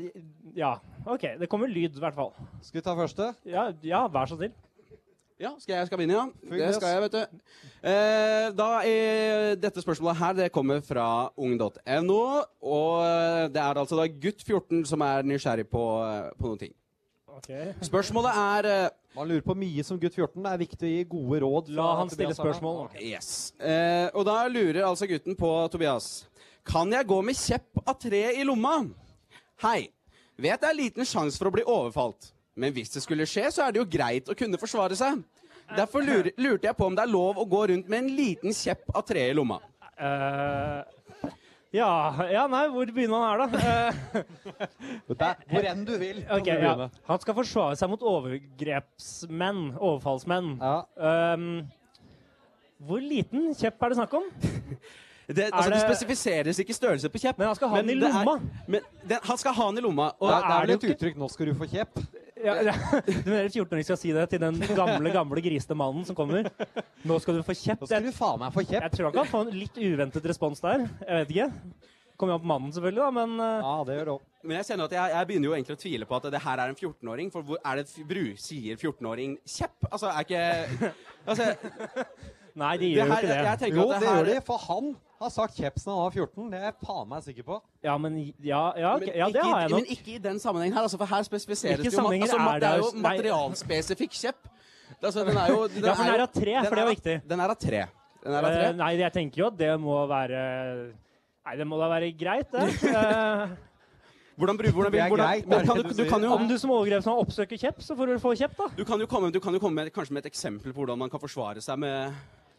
Speaker 5: ja. OK. Det kommer lyd, i hvert fall.
Speaker 6: Skal vi ta første?
Speaker 5: Ja, ja vær så snill.
Speaker 4: Ja, skal jeg skal begynne, ja?
Speaker 6: Fyll
Speaker 4: Det
Speaker 6: løs.
Speaker 4: skal jeg, vet du. Eh, da er Dette spørsmålet her det kommer fra ung.no. Og det er altså da gutt 14 som er nysgjerrig på, eh, på noen ting.
Speaker 5: Ok.
Speaker 4: Spørsmålet er eh,
Speaker 6: Man lurer på mye som gutt 14. Det er viktig å gi gode råd.
Speaker 5: La
Speaker 6: fra
Speaker 5: han stille
Speaker 6: Tobias her nå.
Speaker 5: spørsmål. nå.
Speaker 4: Yes. Eh, og da lurer altså gutten på Tobias. Kan jeg gå med kjepp av tre i lomma? Hei. Vet det er liten sjanse for å bli overfalt. Men hvis det skulle skje, så er det jo greit å kunne forsvare seg. Derfor lurer, lurte jeg på om det er lov å gå rundt med en liten kjepp av tre i lomma.
Speaker 5: Eh, ja, ja, nei, hvor begynner han her, da? Eh,
Speaker 6: Det er Hvor enn Eh, du vil. kan
Speaker 5: ok,
Speaker 6: du
Speaker 5: ja.
Speaker 6: begynne.
Speaker 5: Han skal forsvare seg mot overgrepsmenn. Overfallsmenn.
Speaker 6: Ja.
Speaker 5: Ehm, hvor liten kjepp er det snakk om?
Speaker 4: Det, altså, det...
Speaker 5: det-
Speaker 4: spesifiseres ikke størrelse på kjepp.
Speaker 5: Men han skal ha
Speaker 4: Men
Speaker 5: den i
Speaker 4: det er-
Speaker 5: lomma.
Speaker 4: Men den, han skal ha den i lomma.
Speaker 6: Det
Speaker 4: Og
Speaker 5: Da
Speaker 6: er, det
Speaker 5: er
Speaker 6: er vel
Speaker 5: det
Speaker 6: et
Speaker 5: jo
Speaker 6: uttrykk 'nå skal du få kjepp'.
Speaker 5: Ja, ja. Du mener 14-åringen skal si det til den gamle, gamle grisete mannen som kommer? Nå skal du få kjepp.
Speaker 6: Nå skal
Speaker 5: Jeg,
Speaker 6: du faen meg få kjepp.
Speaker 5: jeg tror han kan få en litt uventet respons der. Jeg vet ikke. Kommer jo an på mannen, selvfølgelig, da, men eh,
Speaker 6: Ja, det gjør det òg.
Speaker 4: Men jeg kjenner at jeg, jeg begynner jo egentlig å tvile på at det her er en 14-åring. For hvor er det f- bru, sier 14-åring kjepp? Altså, er ikke Altså,
Speaker 5: Nei, de
Speaker 4: det
Speaker 5: gjør jo
Speaker 4: her,
Speaker 5: ikke
Speaker 4: jeg,
Speaker 5: det.
Speaker 4: jeg tenker
Speaker 6: Jo,
Speaker 4: at
Speaker 6: det
Speaker 4: det
Speaker 6: gjør
Speaker 4: her
Speaker 6: de, for han har sagt kjepp siden han var 14. Det er jeg faen meg sikker på.
Speaker 5: Ja, men Ja, ja, ok,
Speaker 4: Men,
Speaker 5: ja det
Speaker 4: ikke,
Speaker 5: har jeg
Speaker 4: men
Speaker 5: nok.
Speaker 4: ikke i den sammenhengen her, altså, for her spesifiseres
Speaker 5: Hvilke
Speaker 4: det jo mat-
Speaker 5: sammenhenger
Speaker 4: altså,
Speaker 5: er
Speaker 4: mat- Det
Speaker 5: det her?
Speaker 4: er jo
Speaker 5: Nei.
Speaker 4: materialspesifikk kjepp. Altså, den er jo den
Speaker 5: Ja, for den er
Speaker 4: jo-
Speaker 5: av tre,
Speaker 4: den
Speaker 5: for det var
Speaker 4: er av-
Speaker 5: viktig.
Speaker 4: Den er av tre. Den er av
Speaker 5: Eh,
Speaker 4: tre.
Speaker 5: Nei, jeg tenker jo at det må være Nei, det må da være greit, det. Eh,
Speaker 4: Hvordan, bru- hvordan,
Speaker 6: Det er
Speaker 4: hvordan,
Speaker 6: greit, det
Speaker 4: men
Speaker 6: er
Speaker 4: kan
Speaker 6: det du
Speaker 4: du, du kan jo
Speaker 5: Om du som overgrepsmann oppsøker kjepp, så får du få kjepp, da.
Speaker 4: du kan jo komme, du kan jo komme med, kanskje med et eksempel på hvordan man kan forsvare seg med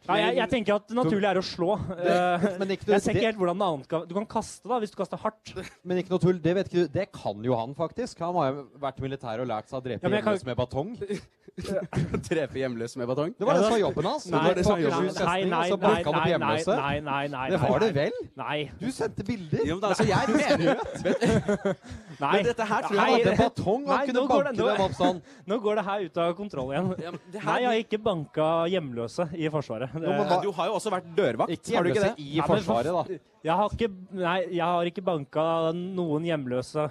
Speaker 5: Nei, jeg, jeg tenker at det naturlige er å slå. Eh,
Speaker 6: Men ikke,
Speaker 5: Jeg ser
Speaker 6: det,
Speaker 5: ikke helt hvordan det annet kan Du kan kaste, da, hvis du kaster hardt.
Speaker 6: men ikke noe tull. Det vet ikke du. Det kan jo han faktisk. Han har jo vært militær og lært seg å drepe
Speaker 5: Ja, men jeg kan-
Speaker 6: hjemløse med batong. Det
Speaker 4: Drepe hjemløs med batong.
Speaker 6: var
Speaker 5: Ja,
Speaker 6: det
Speaker 5: da-
Speaker 6: som var jobben hans.
Speaker 5: Nei,
Speaker 6: det var det som var
Speaker 5: nei,
Speaker 6: jobben hans.
Speaker 5: nei, nei,
Speaker 6: Så
Speaker 5: nei,
Speaker 6: banka han opp
Speaker 5: nei,
Speaker 6: hjemløse.
Speaker 5: Nei, nei, nei, nei,
Speaker 6: altså. Det var det
Speaker 5: nei.
Speaker 6: vel?
Speaker 5: Nei.
Speaker 6: Du sendte bilder.
Speaker 4: Jo, men altså, jeg mener
Speaker 5: nei.
Speaker 4: Men dette her tror jeg
Speaker 5: Nei,
Speaker 6: Han hadde batong og
Speaker 5: Nei,
Speaker 6: kunne
Speaker 5: nå går
Speaker 6: banke
Speaker 5: det- nå-
Speaker 6: dem opp sånn.
Speaker 5: Nå går det her ut av kontroll igjen.
Speaker 4: Ja, men det her-
Speaker 5: Nei, jeg har ikke banka hjemløse i Forsvaret. Det,
Speaker 6: men hva-
Speaker 4: Du har jo også vært dørvakt,
Speaker 6: Ikke
Speaker 4: har du ikke
Speaker 6: hjemløse
Speaker 4: det?
Speaker 6: i
Speaker 5: Nei, men for-
Speaker 6: Forsvaret, da.
Speaker 5: jeg, har ikke, nei, jeg har ikke banka noen hjemløse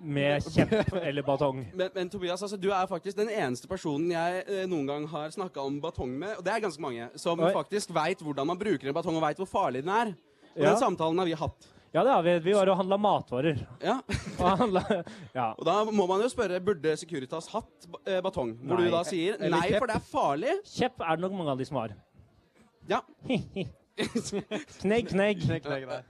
Speaker 5: med kjepp eller batong.
Speaker 4: Men, men Tobias, altså, du er faktisk den eneste personen jeg eh, noen gang har snakka om batong med, og det er ganske mange, som
Speaker 5: Oi.
Speaker 4: faktisk veit hvordan man bruker en batong, og veit hvor farlig den er. Og
Speaker 5: Ja.
Speaker 4: den samtalen har vi hatt.
Speaker 5: Ja, det har vi. Vi var og handla matvarer.
Speaker 4: Ja.
Speaker 5: Og handla- ja.
Speaker 4: Og da må man jo spørre burde Securitas hatt ba- eh, batong, hvor
Speaker 5: Nei.
Speaker 4: du da sier
Speaker 6: Eller
Speaker 4: nei,
Speaker 6: kjepp.
Speaker 4: for det er farlig.
Speaker 5: Kjepp er det nok mange av de som har.
Speaker 4: Ja.
Speaker 5: knegg, knegg.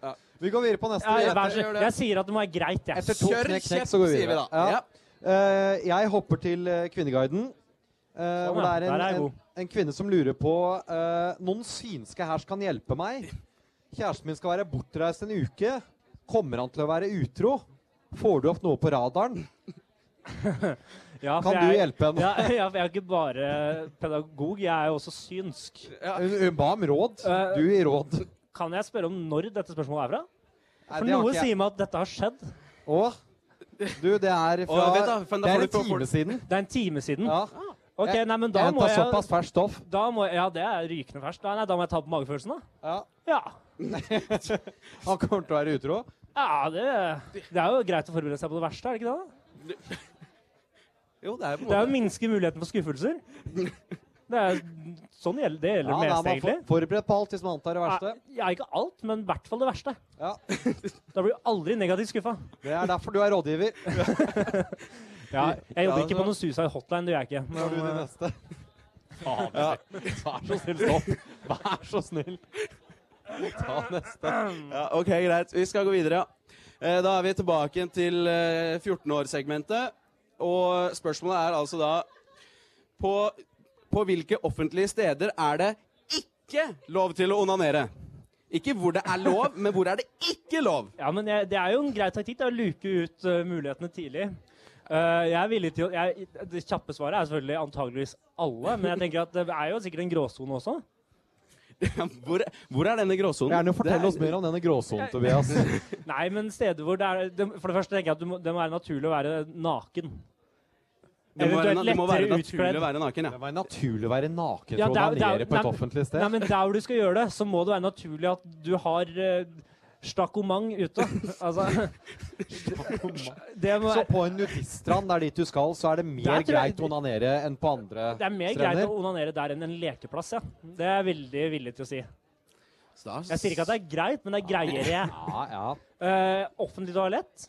Speaker 4: Ja.
Speaker 6: Vi går videre på neste.
Speaker 5: Ja, vær
Speaker 4: gjør
Speaker 5: så
Speaker 4: det.
Speaker 5: Jeg sier at det må være greit, jeg.
Speaker 6: Etter to
Speaker 4: Kjør
Speaker 6: knekk, knekk,
Speaker 4: kjeft,
Speaker 6: så går vi
Speaker 4: sier vi
Speaker 6: videre.
Speaker 4: da.
Speaker 6: Ja.
Speaker 4: Ja.
Speaker 6: Eh, jeg hopper til eh, Kvinneguiden. eh,
Speaker 5: Sånn,
Speaker 6: hvor det
Speaker 5: ja.
Speaker 6: er en,
Speaker 5: Der er jeg
Speaker 6: en,
Speaker 5: god.
Speaker 6: en kvinne som lurer på eh, Noen synske her som kan hjelpe meg. Kjæresten min skal være bortreist en uke. Kommer han til å være utro? Får du opp noe på radaren?
Speaker 5: Ja, for
Speaker 6: Kan du
Speaker 5: jeg-
Speaker 6: hjelpe henne?
Speaker 5: Ja, ja, for jeg er ikke bare pedagog, jeg er jo også synsk.
Speaker 6: Hun, hun ba om råd.
Speaker 5: Eh,
Speaker 6: Du gir råd.
Speaker 5: Kan jeg spørre om når dette spørsmålet er fra?
Speaker 6: Nei,
Speaker 5: For
Speaker 6: det har
Speaker 5: noe
Speaker 6: ikke jeg-
Speaker 5: sier meg at dette har skjedd.
Speaker 6: Å? Du, det er fra
Speaker 4: vent da, for da
Speaker 6: Det
Speaker 4: får
Speaker 6: er
Speaker 4: du
Speaker 6: en
Speaker 4: på- får-
Speaker 6: time siden.
Speaker 5: Det er en time siden.
Speaker 6: Ja.
Speaker 5: Ok,
Speaker 6: Jeg-
Speaker 5: nei, men da
Speaker 6: Jeg
Speaker 5: må
Speaker 6: tar
Speaker 5: jeg,
Speaker 6: såpass ferskt stoff.
Speaker 5: da må jeg Ja, det er rykende ferskt. Nei, nei, da må jeg ta på magefølelsen, da.
Speaker 6: Ja.
Speaker 5: Ja.
Speaker 6: Han kommer til å være utro.
Speaker 5: Ja, det, det er jo greit å forberede seg på det verste, er det ikke det? da?
Speaker 4: Jo, det er jo på
Speaker 5: Det er jo å
Speaker 4: en måte
Speaker 5: minske muligheten for skuffelser. Det er sånn gjelder, det gjelder
Speaker 6: Ja,
Speaker 5: det
Speaker 6: da er
Speaker 5: meste,
Speaker 6: man for,
Speaker 5: egentlig.
Speaker 6: forberedt på alt hvis man antar det verste.
Speaker 5: Ja, ikke alt, men i hvert fall det verste.
Speaker 6: Ja.
Speaker 5: Da blir du aldri negativt skuffa.
Speaker 6: Det er derfor du er rådgiver.
Speaker 5: Ja, jeg jobber
Speaker 6: Ja,
Speaker 5: ikke
Speaker 6: så-
Speaker 5: på noen suicide hotline, det gjør jeg ikke.
Speaker 6: Nå er du
Speaker 5: Men,
Speaker 6: den neste.
Speaker 5: faen,
Speaker 6: Vær så snill, stopp. Vær så snill. Ta neste.
Speaker 4: Ja, ok, greit. Vi skal gå videre, ja. Eh, Da er vi tilbake til eh, 14-årssegmentet. Og spørsmålet er altså da på, på hvilke offentlige steder er det ikke lov til å onanere? Ikke hvor det er lov, men hvor er det ikke lov?
Speaker 5: Ja, men jeg, det er jo en grei taktikk da, å luke ut eh, mulighetene tidlig. Eh, jeg er villig til å jeg, Det kjappe svaret er selvfølgelig antageligvis alle, men jeg tenker at det er jo sikkert en gråsone også.
Speaker 4: Hvor, hvor er denne gråsonen?
Speaker 6: Gjerne
Speaker 4: Det er-
Speaker 6: fortell oss mer om denne gråsonen, Tobias.
Speaker 5: Nei, men steder hvor det er det, For det første tenker jeg at det må, det må være naturlig å være naken.
Speaker 4: Det må være,
Speaker 5: Eventuelt
Speaker 4: det må være
Speaker 5: lettere
Speaker 4: naturlig å
Speaker 5: utkledd.
Speaker 4: være naken,
Speaker 6: Det
Speaker 4: ja.
Speaker 6: var naturlig å være naken
Speaker 5: Ja,
Speaker 6: for å
Speaker 5: det er- det er-
Speaker 6: onanere på
Speaker 5: nei,
Speaker 6: et
Speaker 5: men-
Speaker 6: offentlig sted.
Speaker 5: Nei, men der hvor du skal gjøre det, så må det være naturlig at du har uh, stakkomang ute. Altså, det, må,
Speaker 6: Så på en nudiststrand, det er dit du skal, så er det
Speaker 5: Der
Speaker 6: mer
Speaker 5: tror jeg-
Speaker 6: greit å onanere enn på andre
Speaker 5: det er mer greit å
Speaker 6: strender?
Speaker 5: onanere der enn en lekeplass, ja. Det er jeg veldig villig til å si.
Speaker 4: Så da-
Speaker 5: Jeg sier ikke at det er greit, men det er greiere.
Speaker 6: Ja, ja.
Speaker 5: Eh, offentlig toalett?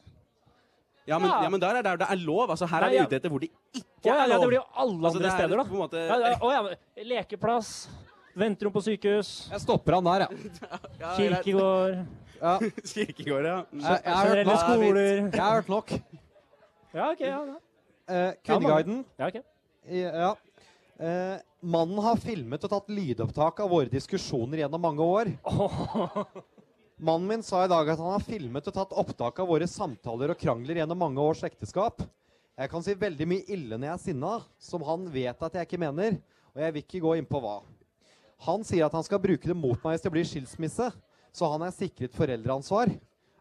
Speaker 4: ja, men,
Speaker 5: Ja.
Speaker 4: ja, men der er der det er lov. Altså, her
Speaker 5: Nei,
Speaker 4: er vi
Speaker 5: ja.
Speaker 4: ute etter hvor det
Speaker 5: Ja,
Speaker 4: ikke er
Speaker 5: ja, det
Speaker 4: lov.
Speaker 5: blir jo alle
Speaker 4: Altså,
Speaker 5: andre
Speaker 4: det er
Speaker 5: steder,
Speaker 4: på
Speaker 5: da.
Speaker 4: en måte-
Speaker 5: Ja, ja, å, ja, men lekeplass, venterom på sykehus,
Speaker 6: Jeg stopper han der, jeg.
Speaker 4: Ja, greit.
Speaker 5: kirkegård,
Speaker 6: Ja.
Speaker 4: Kirkegård, ja. Mm.
Speaker 6: Jeg, jeg, har hørt
Speaker 5: generelle
Speaker 6: nok.
Speaker 5: skoler
Speaker 6: jeg har hørt nok.
Speaker 5: Ja, OK. Ja, ja.
Speaker 6: Eh, Kvinneguiden
Speaker 5: Ja, ok.
Speaker 6: Ja. Eh, mannen har filmet og tatt lydopptak av våre diskusjoner gjennom mange år. Mannen min sa i dag at han har filmet og tatt opptak av våre samtaler og krangler gjennom mange års ekteskap. Jeg kan si veldig mye ille når jeg er sinna, som han vet at jeg ikke mener, og jeg vil ikke gå inn på hva. Han sier at han skal bruke det mot meg hvis det blir skilsmisse, så han er sikret foreldreansvar.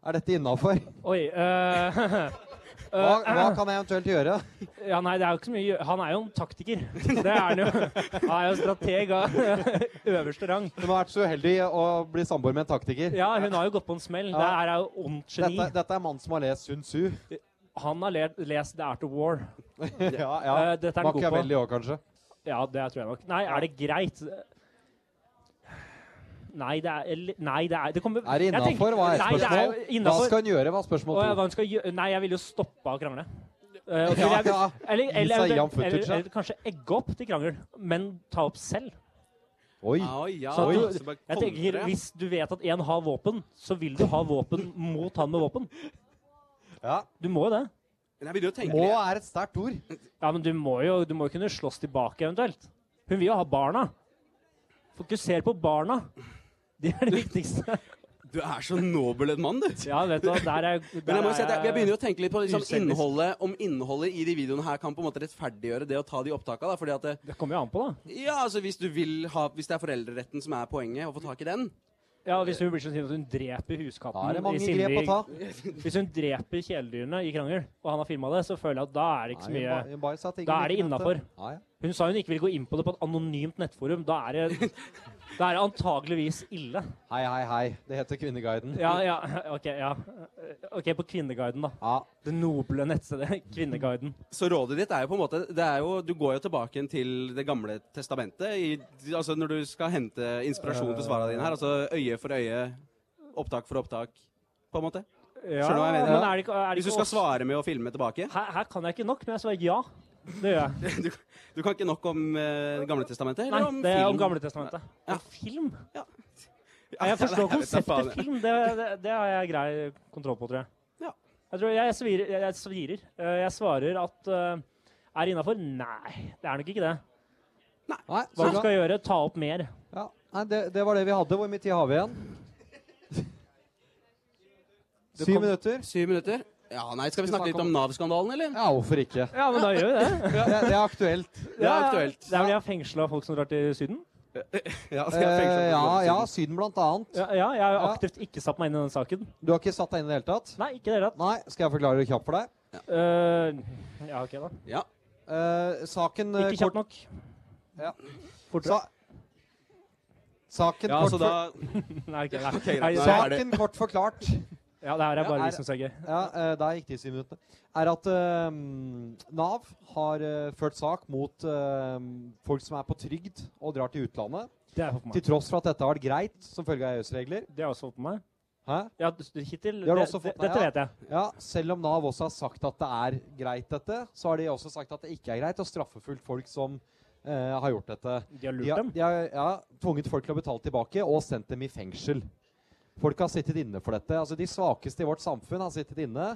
Speaker 6: Er dette innafor?
Speaker 5: Oi eh,
Speaker 6: Hva, hva kan jeg eventuelt gjøre?
Speaker 5: Ja, nei, det er jo ikke så mye å gjø- Han er jo en taktiker. Det er han jo. Han er jo strateg av øverste rang.
Speaker 6: Hun har vært så uheldig å bli samboer med en taktiker.
Speaker 5: Ja, hun har jo gått på en smell. Det her er jo ondt geni.
Speaker 6: Dette, dette er en mann som har lest Sun Tzu.
Speaker 5: Han har le- lest The Art of War.
Speaker 6: ja,
Speaker 5: Eh,
Speaker 6: ja.
Speaker 5: dette er han god på.
Speaker 6: Machiavelli òg, kanskje.
Speaker 5: Ja, det tror jeg nok. Nei, er det greit? Nei, det er eller- Nei, det er Det kommer
Speaker 6: Er det
Speaker 5: jeg tenker-
Speaker 6: innafor? Hva er
Speaker 5: Nei, det
Speaker 6: spørsmål?
Speaker 5: jo
Speaker 6: Hva
Speaker 5: innenfor.
Speaker 6: skal hun gjøre? Hva er spørsmål
Speaker 5: Å, ja,
Speaker 6: to?
Speaker 5: hva hun skal gjø- Nei, jeg ville jo stoppa å krangle. Eh, og så
Speaker 6: Ja,
Speaker 5: ville jeg-
Speaker 6: ja.
Speaker 5: Eller,
Speaker 6: Gi
Speaker 5: eller,
Speaker 6: seg
Speaker 5: eller,
Speaker 6: jam footage,
Speaker 5: eller,
Speaker 6: ja.
Speaker 5: eller kanskje egge opp til krangel, men ta opp selv.
Speaker 6: Oi.
Speaker 4: Ja, Ah, ja.
Speaker 5: Så at du-
Speaker 4: så bare
Speaker 5: Jeg
Speaker 4: kontre.
Speaker 5: tenker, Hvis du vet at én har våpen, så vil du ha våpen mot han med våpen.
Speaker 6: Ja.
Speaker 5: Du må jo det.
Speaker 4: Men jeg begynner å tenke
Speaker 6: Må
Speaker 4: litt.
Speaker 6: er et sterkt ord.
Speaker 5: Ja, Men du må jo du må jo kunne slåss tilbake, eventuelt. Hun vil jo ha barna. Fokuser på barna. De er det viktigste.
Speaker 4: Du er så nobel en mann, du.
Speaker 5: Ja, vet du hva, der er der
Speaker 4: Men jeg må jo si at jeg, jeg begynner jo
Speaker 5: er-
Speaker 4: å tenke litt på liksom,
Speaker 5: uselvisk.
Speaker 4: innholdet, om innholdet i de videoene her kan på en måte rettferdiggjøre det å ta de opptakene. Da, fordi at det,
Speaker 5: Det kommer jo an på, da.
Speaker 4: ja, altså, hvis, du vil ha, hvis det er foreldreretten som er poenget, å få tak i den
Speaker 5: Ja, Hvis hun blir så sint at hun dreper huskatten
Speaker 6: Da er det
Speaker 5: i
Speaker 6: mange grep å
Speaker 5: sindig-
Speaker 6: ta.
Speaker 5: Hvis hun dreper kjæledyrene i krangel, og han har filma det, så føler jeg at da er det ikke så
Speaker 6: Nei, hun
Speaker 5: mye
Speaker 6: ba- hun bare sa ting
Speaker 5: Da
Speaker 6: hun
Speaker 5: er det
Speaker 6: ikke mente.
Speaker 5: innafor.
Speaker 6: Ja, ja.
Speaker 5: Hun sa hun ikke ville gå inn på det på et anonymt nettforum. Da er det, da er det antageligvis ille.
Speaker 6: Hei, hei, hei. Det heter Kvinneguiden.
Speaker 5: Ja, ja, OK. ja. Ok, På Kvinneguiden, da.
Speaker 6: Ja.
Speaker 5: Det noble nettstedet Kvinneguiden.
Speaker 4: Så rådet ditt er jo på en måte det er jo, Du går jo tilbake igjen til Det gamle testamentet i, altså når du skal hente inspirasjon til svarene dine her. Altså øye for øye, opptak for opptak, på en måte.
Speaker 5: Ja,
Speaker 4: Skjønner du hva jeg mener?
Speaker 5: Men er det ikke, er det
Speaker 4: Hvis du
Speaker 5: ikke
Speaker 4: skal
Speaker 5: oss-
Speaker 4: svare med å filme tilbake.
Speaker 5: her, her kan jeg ikke nok, men jeg svarer ja. Det gjør jeg.
Speaker 4: Du, du kan ikke nok om eh, Det gamle testamentet?
Speaker 5: Nei,
Speaker 4: Eller om
Speaker 5: det er om
Speaker 4: film?
Speaker 5: Gamletestamentet.
Speaker 4: Ja.
Speaker 5: Om film? Nei, Jeg forstår
Speaker 4: nei, jeg vet da faen.
Speaker 5: konseptet film. Det, det, det har jeg grei kontroll på, tror jeg.
Speaker 4: Ja.
Speaker 5: Jeg, tror jeg, svirer, jeg, jeg svirer. Eh, Jeg svarer at eh, Er innafor? Nei, det er nok ikke det.
Speaker 6: Nei,
Speaker 5: Så
Speaker 6: var
Speaker 5: du
Speaker 6: det bra?
Speaker 5: skal gjøre ta opp mer.
Speaker 6: Ja. Nei det, det var det vi hadde. Hvor mye tid har vi igjen?
Speaker 4: Det
Speaker 6: Syv
Speaker 4: kom-
Speaker 6: minutter?
Speaker 4: Syv minutter? Ja, nei, Skal vi snakke litt om Nav-skandalen, eller?
Speaker 6: Ja, hvorfor ikke?
Speaker 5: Ja, men da gjør vi det.
Speaker 6: Det, det er aktuelt.
Speaker 4: Det er aktuelt.
Speaker 5: Det er vel jeg har fengsla folk som drar til Syden?
Speaker 4: Ja, så jeg tenkte
Speaker 6: Eh,
Speaker 4: på
Speaker 6: ja,
Speaker 4: det.
Speaker 6: ja, Syden blant annet.
Speaker 5: Ja, ja jeg har jo
Speaker 6: Ja.
Speaker 5: aktivt ikke satt meg inn i den saken.
Speaker 6: Du har ikke satt deg inn i det hele tatt?
Speaker 5: Nei, ikke i det hele tatt.
Speaker 6: Nei, skal jeg forklare det kjapt for deg?
Speaker 5: Eh, ja, OK, da.
Speaker 4: Ja.
Speaker 6: Eh, saken eh,
Speaker 5: Ikke kjapt nok.
Speaker 6: Ja.
Speaker 5: Fortere.
Speaker 6: Saken,
Speaker 4: ja, så
Speaker 6: kort,
Speaker 4: da
Speaker 6: for,
Speaker 5: Nei, ok, nei.
Speaker 4: greit.
Speaker 5: Nei,
Speaker 4: Nei,
Speaker 5: så-
Speaker 4: er det-
Speaker 6: saken kort forklart
Speaker 5: Ja, det her er bare
Speaker 6: Ja, er-
Speaker 5: vi som syns er gøy.
Speaker 6: ja, eh, Der gikk de syv minuttene. Er at eh, Nav har eh, ført sak mot eh, folk som er på trygd og drar til utlandet.
Speaker 5: Det er for meg.
Speaker 6: Til tross for at dette har vært greit som følge av EØS-regler.
Speaker 5: Det har jeg også fått med meg.
Speaker 6: Hæ?
Speaker 5: Ja, d- hittil.
Speaker 6: Det har du
Speaker 5: det-
Speaker 6: også fått
Speaker 5: det-
Speaker 6: med,
Speaker 5: Dette
Speaker 6: ja.
Speaker 5: vet jeg.
Speaker 6: Ja, Selv om Nav også har sagt at det er greit, dette, så har de også sagt at det ikke er greit og straffefullt folk som eh, har gjort dette.
Speaker 5: De har
Speaker 6: De
Speaker 5: lurt
Speaker 6: har,
Speaker 5: dem.
Speaker 6: de har ja, tvunget folk til å betale tilbake og sendt dem i fengsel. Folk har sittet inne for dette. Altså, de svakeste i vårt samfunn har sittet inne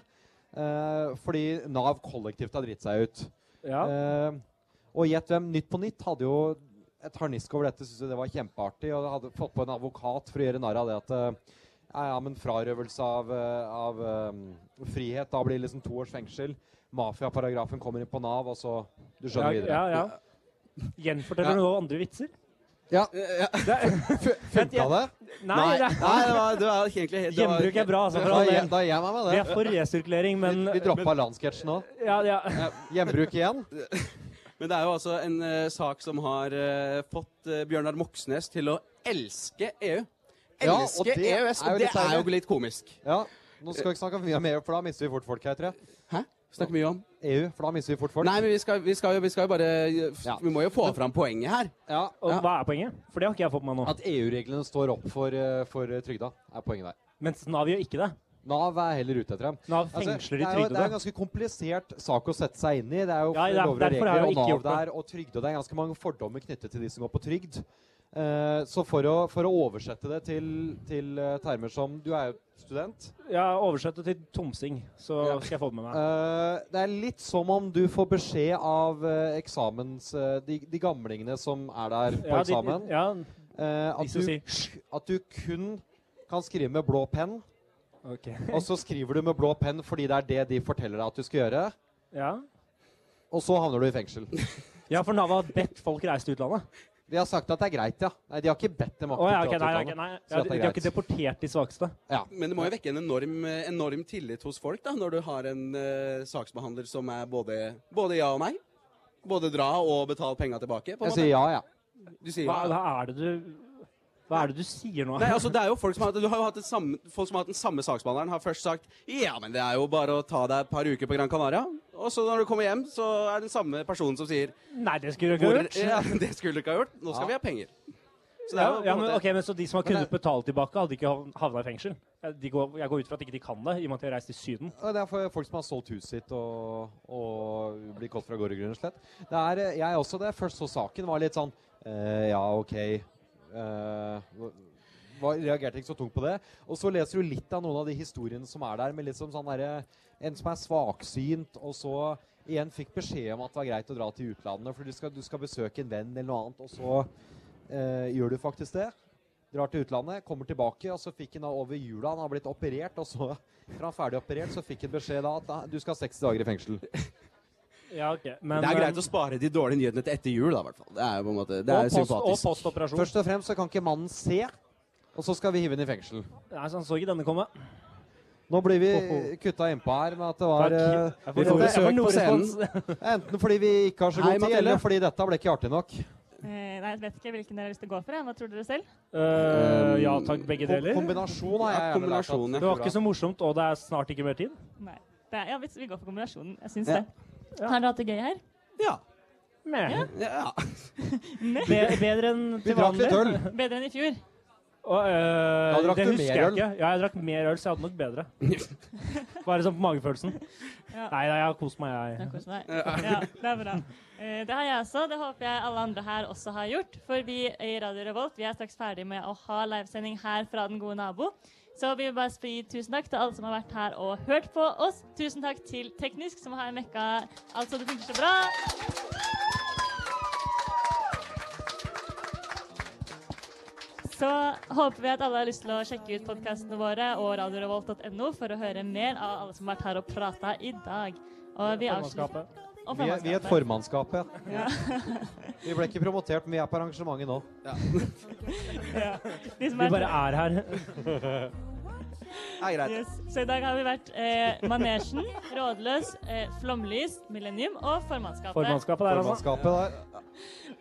Speaker 6: eh, fordi Nav kollektivt har dritt seg ut.
Speaker 5: Ja.
Speaker 6: Eh, og gjett hvem? Nytt på Nytt hadde jo et harnisk over dette. Syntes jo det var kjempeartig. Og hadde fått på en advokat for å gjøre narr av det at eh, ja, ja, men frarøvelse av, eh, av eh, frihet. Da blir det liksom to års fengsel. Mafiaparagrafen kommer inn på Nav, og så Du skjønner videre.
Speaker 5: Ja, ja, ja. Gjenforteller
Speaker 6: Ja.
Speaker 5: du nå andre vitser?
Speaker 6: Ja.
Speaker 5: Det er,
Speaker 6: Funka
Speaker 5: jeg-
Speaker 6: det?
Speaker 5: nei,
Speaker 4: Nei,
Speaker 5: det
Speaker 4: nei, det var, det var egentlig helt- det var-
Speaker 5: gjenbruk er bra. Altså, for
Speaker 6: Da
Speaker 5: all
Speaker 6: gir jeg-
Speaker 5: del.
Speaker 6: da gir jeg meg med
Speaker 5: Vi
Speaker 6: det.
Speaker 5: er for resirkulering, men
Speaker 6: Vi droppa landsketsjen nå.
Speaker 5: ja, ja.
Speaker 6: Gjenbruk igjen.
Speaker 4: Men det er jo altså en eh, sak som har eh, fått eh, Bjørnar Moxnes til å elske EU.
Speaker 6: Ja, og
Speaker 4: Elske E
Speaker 6: det
Speaker 4: EØS,
Speaker 6: er jo
Speaker 4: og det
Speaker 6: litt
Speaker 4: er
Speaker 6: deilig.
Speaker 4: jo litt komisk.
Speaker 6: Ja. Nå skal vi ikke snakke for mye om EU, for da mister vi fort folk her, tror jeg.
Speaker 4: Hæ? Snakker mye om
Speaker 6: EU, for da mister vi fort folk.
Speaker 4: Nei, men vi skal, vi skal, jo, vi skal jo bare
Speaker 6: Ja.
Speaker 4: Vi må jo få fram poenget her.
Speaker 6: Ja,
Speaker 5: Og
Speaker 4: Ja.
Speaker 5: hva er poenget? For det har ikke jeg fått med meg nå.
Speaker 6: At EU-reglene står opp for, eh, for eh, trygda, er poenget der.
Speaker 5: Mens Nav gjør ikke det.
Speaker 6: Nav er heller ute etter dem.
Speaker 5: Nav
Speaker 6: Altså,
Speaker 5: fengsler de
Speaker 6: det er jo- Det er en
Speaker 5: trygdede.
Speaker 6: ganske komplisert sak å sette seg inn i. Det er jo
Speaker 5: Ja, det er-
Speaker 6: lover og
Speaker 5: derfor har
Speaker 6: regler
Speaker 5: jeg
Speaker 6: og
Speaker 5: ikke
Speaker 6: Nav
Speaker 5: gjort det.
Speaker 6: der, og trygde. og Det er ganske mange fordommer knyttet til de som går på trygd. Eh, så for å, for å oversette det til, til eh, termer som Du er jo student.
Speaker 5: Ja, Oversett det til tomsing, så
Speaker 6: Ja.
Speaker 5: skal jeg få det med meg.
Speaker 6: Eh, det er litt som om du får beskjed av eh, eksamens eh, de, de gamlingene som er der på
Speaker 5: Ja, de-
Speaker 6: eksamen,
Speaker 5: ja,
Speaker 6: eh,
Speaker 5: de
Speaker 6: at,
Speaker 5: som
Speaker 6: du,
Speaker 5: sier «Hysj».
Speaker 6: at du kun kan skrive med blå penn.
Speaker 5: Ok.
Speaker 6: Og så skriver du med blå penn fordi det er det de forteller deg at du skal gjøre.
Speaker 5: Ja.
Speaker 6: Og så havner du i fengsel.
Speaker 5: ja, for Nav har bedt folk reise til utlandet.
Speaker 6: De har sagt at det er greit, ja. Nei, de har ikke bedt dem
Speaker 5: Å,
Speaker 6: aktivt
Speaker 5: ja,
Speaker 6: dra
Speaker 5: ok,
Speaker 6: til
Speaker 5: nei, ok,
Speaker 6: utlandet.
Speaker 5: nei.
Speaker 6: Så
Speaker 5: Ja,
Speaker 6: dette
Speaker 5: de,
Speaker 6: er
Speaker 5: de har
Speaker 6: greit.
Speaker 5: ikke deportert de svakeste.
Speaker 4: Men det må jo vekke en enorm, eh, enorm tillit hos folk da, når du har en eh, saksbehandler som er både, både ja og nei. Både dra og betal penga tilbake. På en
Speaker 6: Jeg sier
Speaker 4: måte.
Speaker 6: ja, ja.
Speaker 4: Du sier
Speaker 5: Hva,
Speaker 4: ja.
Speaker 5: hva er det du Hva er det du sier nå?
Speaker 4: Nei, altså det er jo Folk som har, du har jo hatt det samme, folk som har hatt den samme saksbehandleren, har først sagt ja, men det er jo bare å ta deg et par uker på Gran Canaria. Og så når du kommer hjem, så er det den samme personen som sier
Speaker 5: Nei, det skulle du ikke
Speaker 4: Hvor,
Speaker 5: gjort.
Speaker 4: ja, det skulle du ikke ha gjort. Nå skal
Speaker 6: Ja.
Speaker 4: vi ha penger. Så det
Speaker 5: Ja,
Speaker 4: er jo på en
Speaker 5: ja, men,
Speaker 4: måte-
Speaker 5: ok, men Så de som har
Speaker 6: Men
Speaker 5: kunnet betale tilbake, hadde ikke hav- havna i fengsel? Eh, De går, jeg går ut fra at ikke de kan det, i og med at de har reist til Syden.
Speaker 6: Og Det er for folk som har solgt huset sitt og, og blir kalt fra gårde, grunn og slett. Det er, eh, jeg også det. Først så saken var litt sånn eh, Ja, OK. Eh, var, reagerte ikke så tungt på det. Og så leser du litt av noen av de historiene som er der, med litt som sånn derre En som er svaksynt, og så igjen fikk beskjed om at det var greit å dra til utlandet, for du skal, du skal besøke en venn eller noe annet, og så eh, gjør du faktisk det. Drar til utlandet, kommer tilbake, og så fikk han da over jula Han har blitt operert, og så fra han ferdig operert, så fikk han beskjed da at da, du skal ha 60 dager i fengsel.
Speaker 5: Ja, ok. Men,
Speaker 4: det er greit
Speaker 5: eh,
Speaker 4: å spare de dårlige nyhetene til etter jul, da, i hvert fall. Det er jo på en måte det
Speaker 5: og
Speaker 4: er
Speaker 5: post-
Speaker 4: sympatisk.
Speaker 5: Og postoperasjon.
Speaker 6: Først og fremst så kan ikke mannen se, og så skal vi hive han i fengsel.
Speaker 5: Nei, så Han så ikke denne komme.
Speaker 6: Nå blir vi
Speaker 5: Ho,
Speaker 6: kutta innpå her med at det var
Speaker 5: Takk.
Speaker 6: eh,
Speaker 5: Jeg
Speaker 4: vi
Speaker 5: får
Speaker 4: får
Speaker 5: noe- jeg
Speaker 4: besøk
Speaker 5: får noe
Speaker 4: på scenen.
Speaker 5: respons.
Speaker 6: enten fordi vi ikke har så
Speaker 4: Hei,
Speaker 6: god tid,
Speaker 4: Mathilde.
Speaker 6: eller fordi dette ble ikke artig nok.
Speaker 7: Eh, nei, jeg vet ikke hvilken dere har lyst til å gå for. Jeg. Hva tror dere selv?
Speaker 5: Eh, ja takk, begge
Speaker 6: Kom
Speaker 5: deler.
Speaker 6: kombinasjon har jeg
Speaker 4: Ja,
Speaker 6: gjerne lært at-
Speaker 4: kombinasjon,
Speaker 5: Det var ikke så morsomt, og det er snart ikke mer tid.
Speaker 7: Nei. Det er, ja, hvis vi går for kombinasjonen. Jeg syns
Speaker 4: Ja.
Speaker 7: det. Har dere hatt det gøy her?
Speaker 4: Ja.
Speaker 5: Meh.
Speaker 4: ja.
Speaker 5: Be bedre enn
Speaker 6: Vi
Speaker 5: til
Speaker 6: drakk litt
Speaker 5: vanlig.
Speaker 6: øl.
Speaker 7: Bedre enn i fjor?
Speaker 5: Og, eh,
Speaker 6: Da drakk
Speaker 5: det
Speaker 6: du
Speaker 5: husker
Speaker 6: mer
Speaker 5: jeg
Speaker 6: øl.
Speaker 5: Ikke. Ja, jeg drakk mer øl, så jeg hadde nok bedre. Bare sånn på magefølelsen.
Speaker 7: Ja.
Speaker 5: Nei, nei, jeg har kost meg, jeg.
Speaker 7: Takk for meg. Ja, det er bra. Eh, Det har jeg også. Det håper jeg alle andre her også har gjort. For vi i Radio Revolt vi er straks ferdig med å ha livesending her fra den gode nabo. Så vi vil bare si tusen takk til alle som har vært her og hørt på oss. Tusen takk til Teknisk, som har mekka alt så det funker så bra. Så håper vi at alle har lyst til å sjekke ut podkastene våre og radiorevolt.no for å høre mer av alle som har vært her og prata i dag. Og vi avslutter
Speaker 5: Formannskapet.
Speaker 7: og
Speaker 6: Vi er, vi er et
Speaker 7: formannskapet.
Speaker 6: formannskap, ja. Vi ble ikke promotert, men vi er på arrangementet nå.
Speaker 7: De som
Speaker 5: Vi
Speaker 7: er-
Speaker 5: bare er her.
Speaker 4: Nei, greit.
Speaker 7: Yes. Så i dag har vi vært eh, Manesjen, Rådløs, eh, Flomlys, Millennium og formannskapet.
Speaker 5: Formannskapet der, altså.
Speaker 6: Formannskapet der.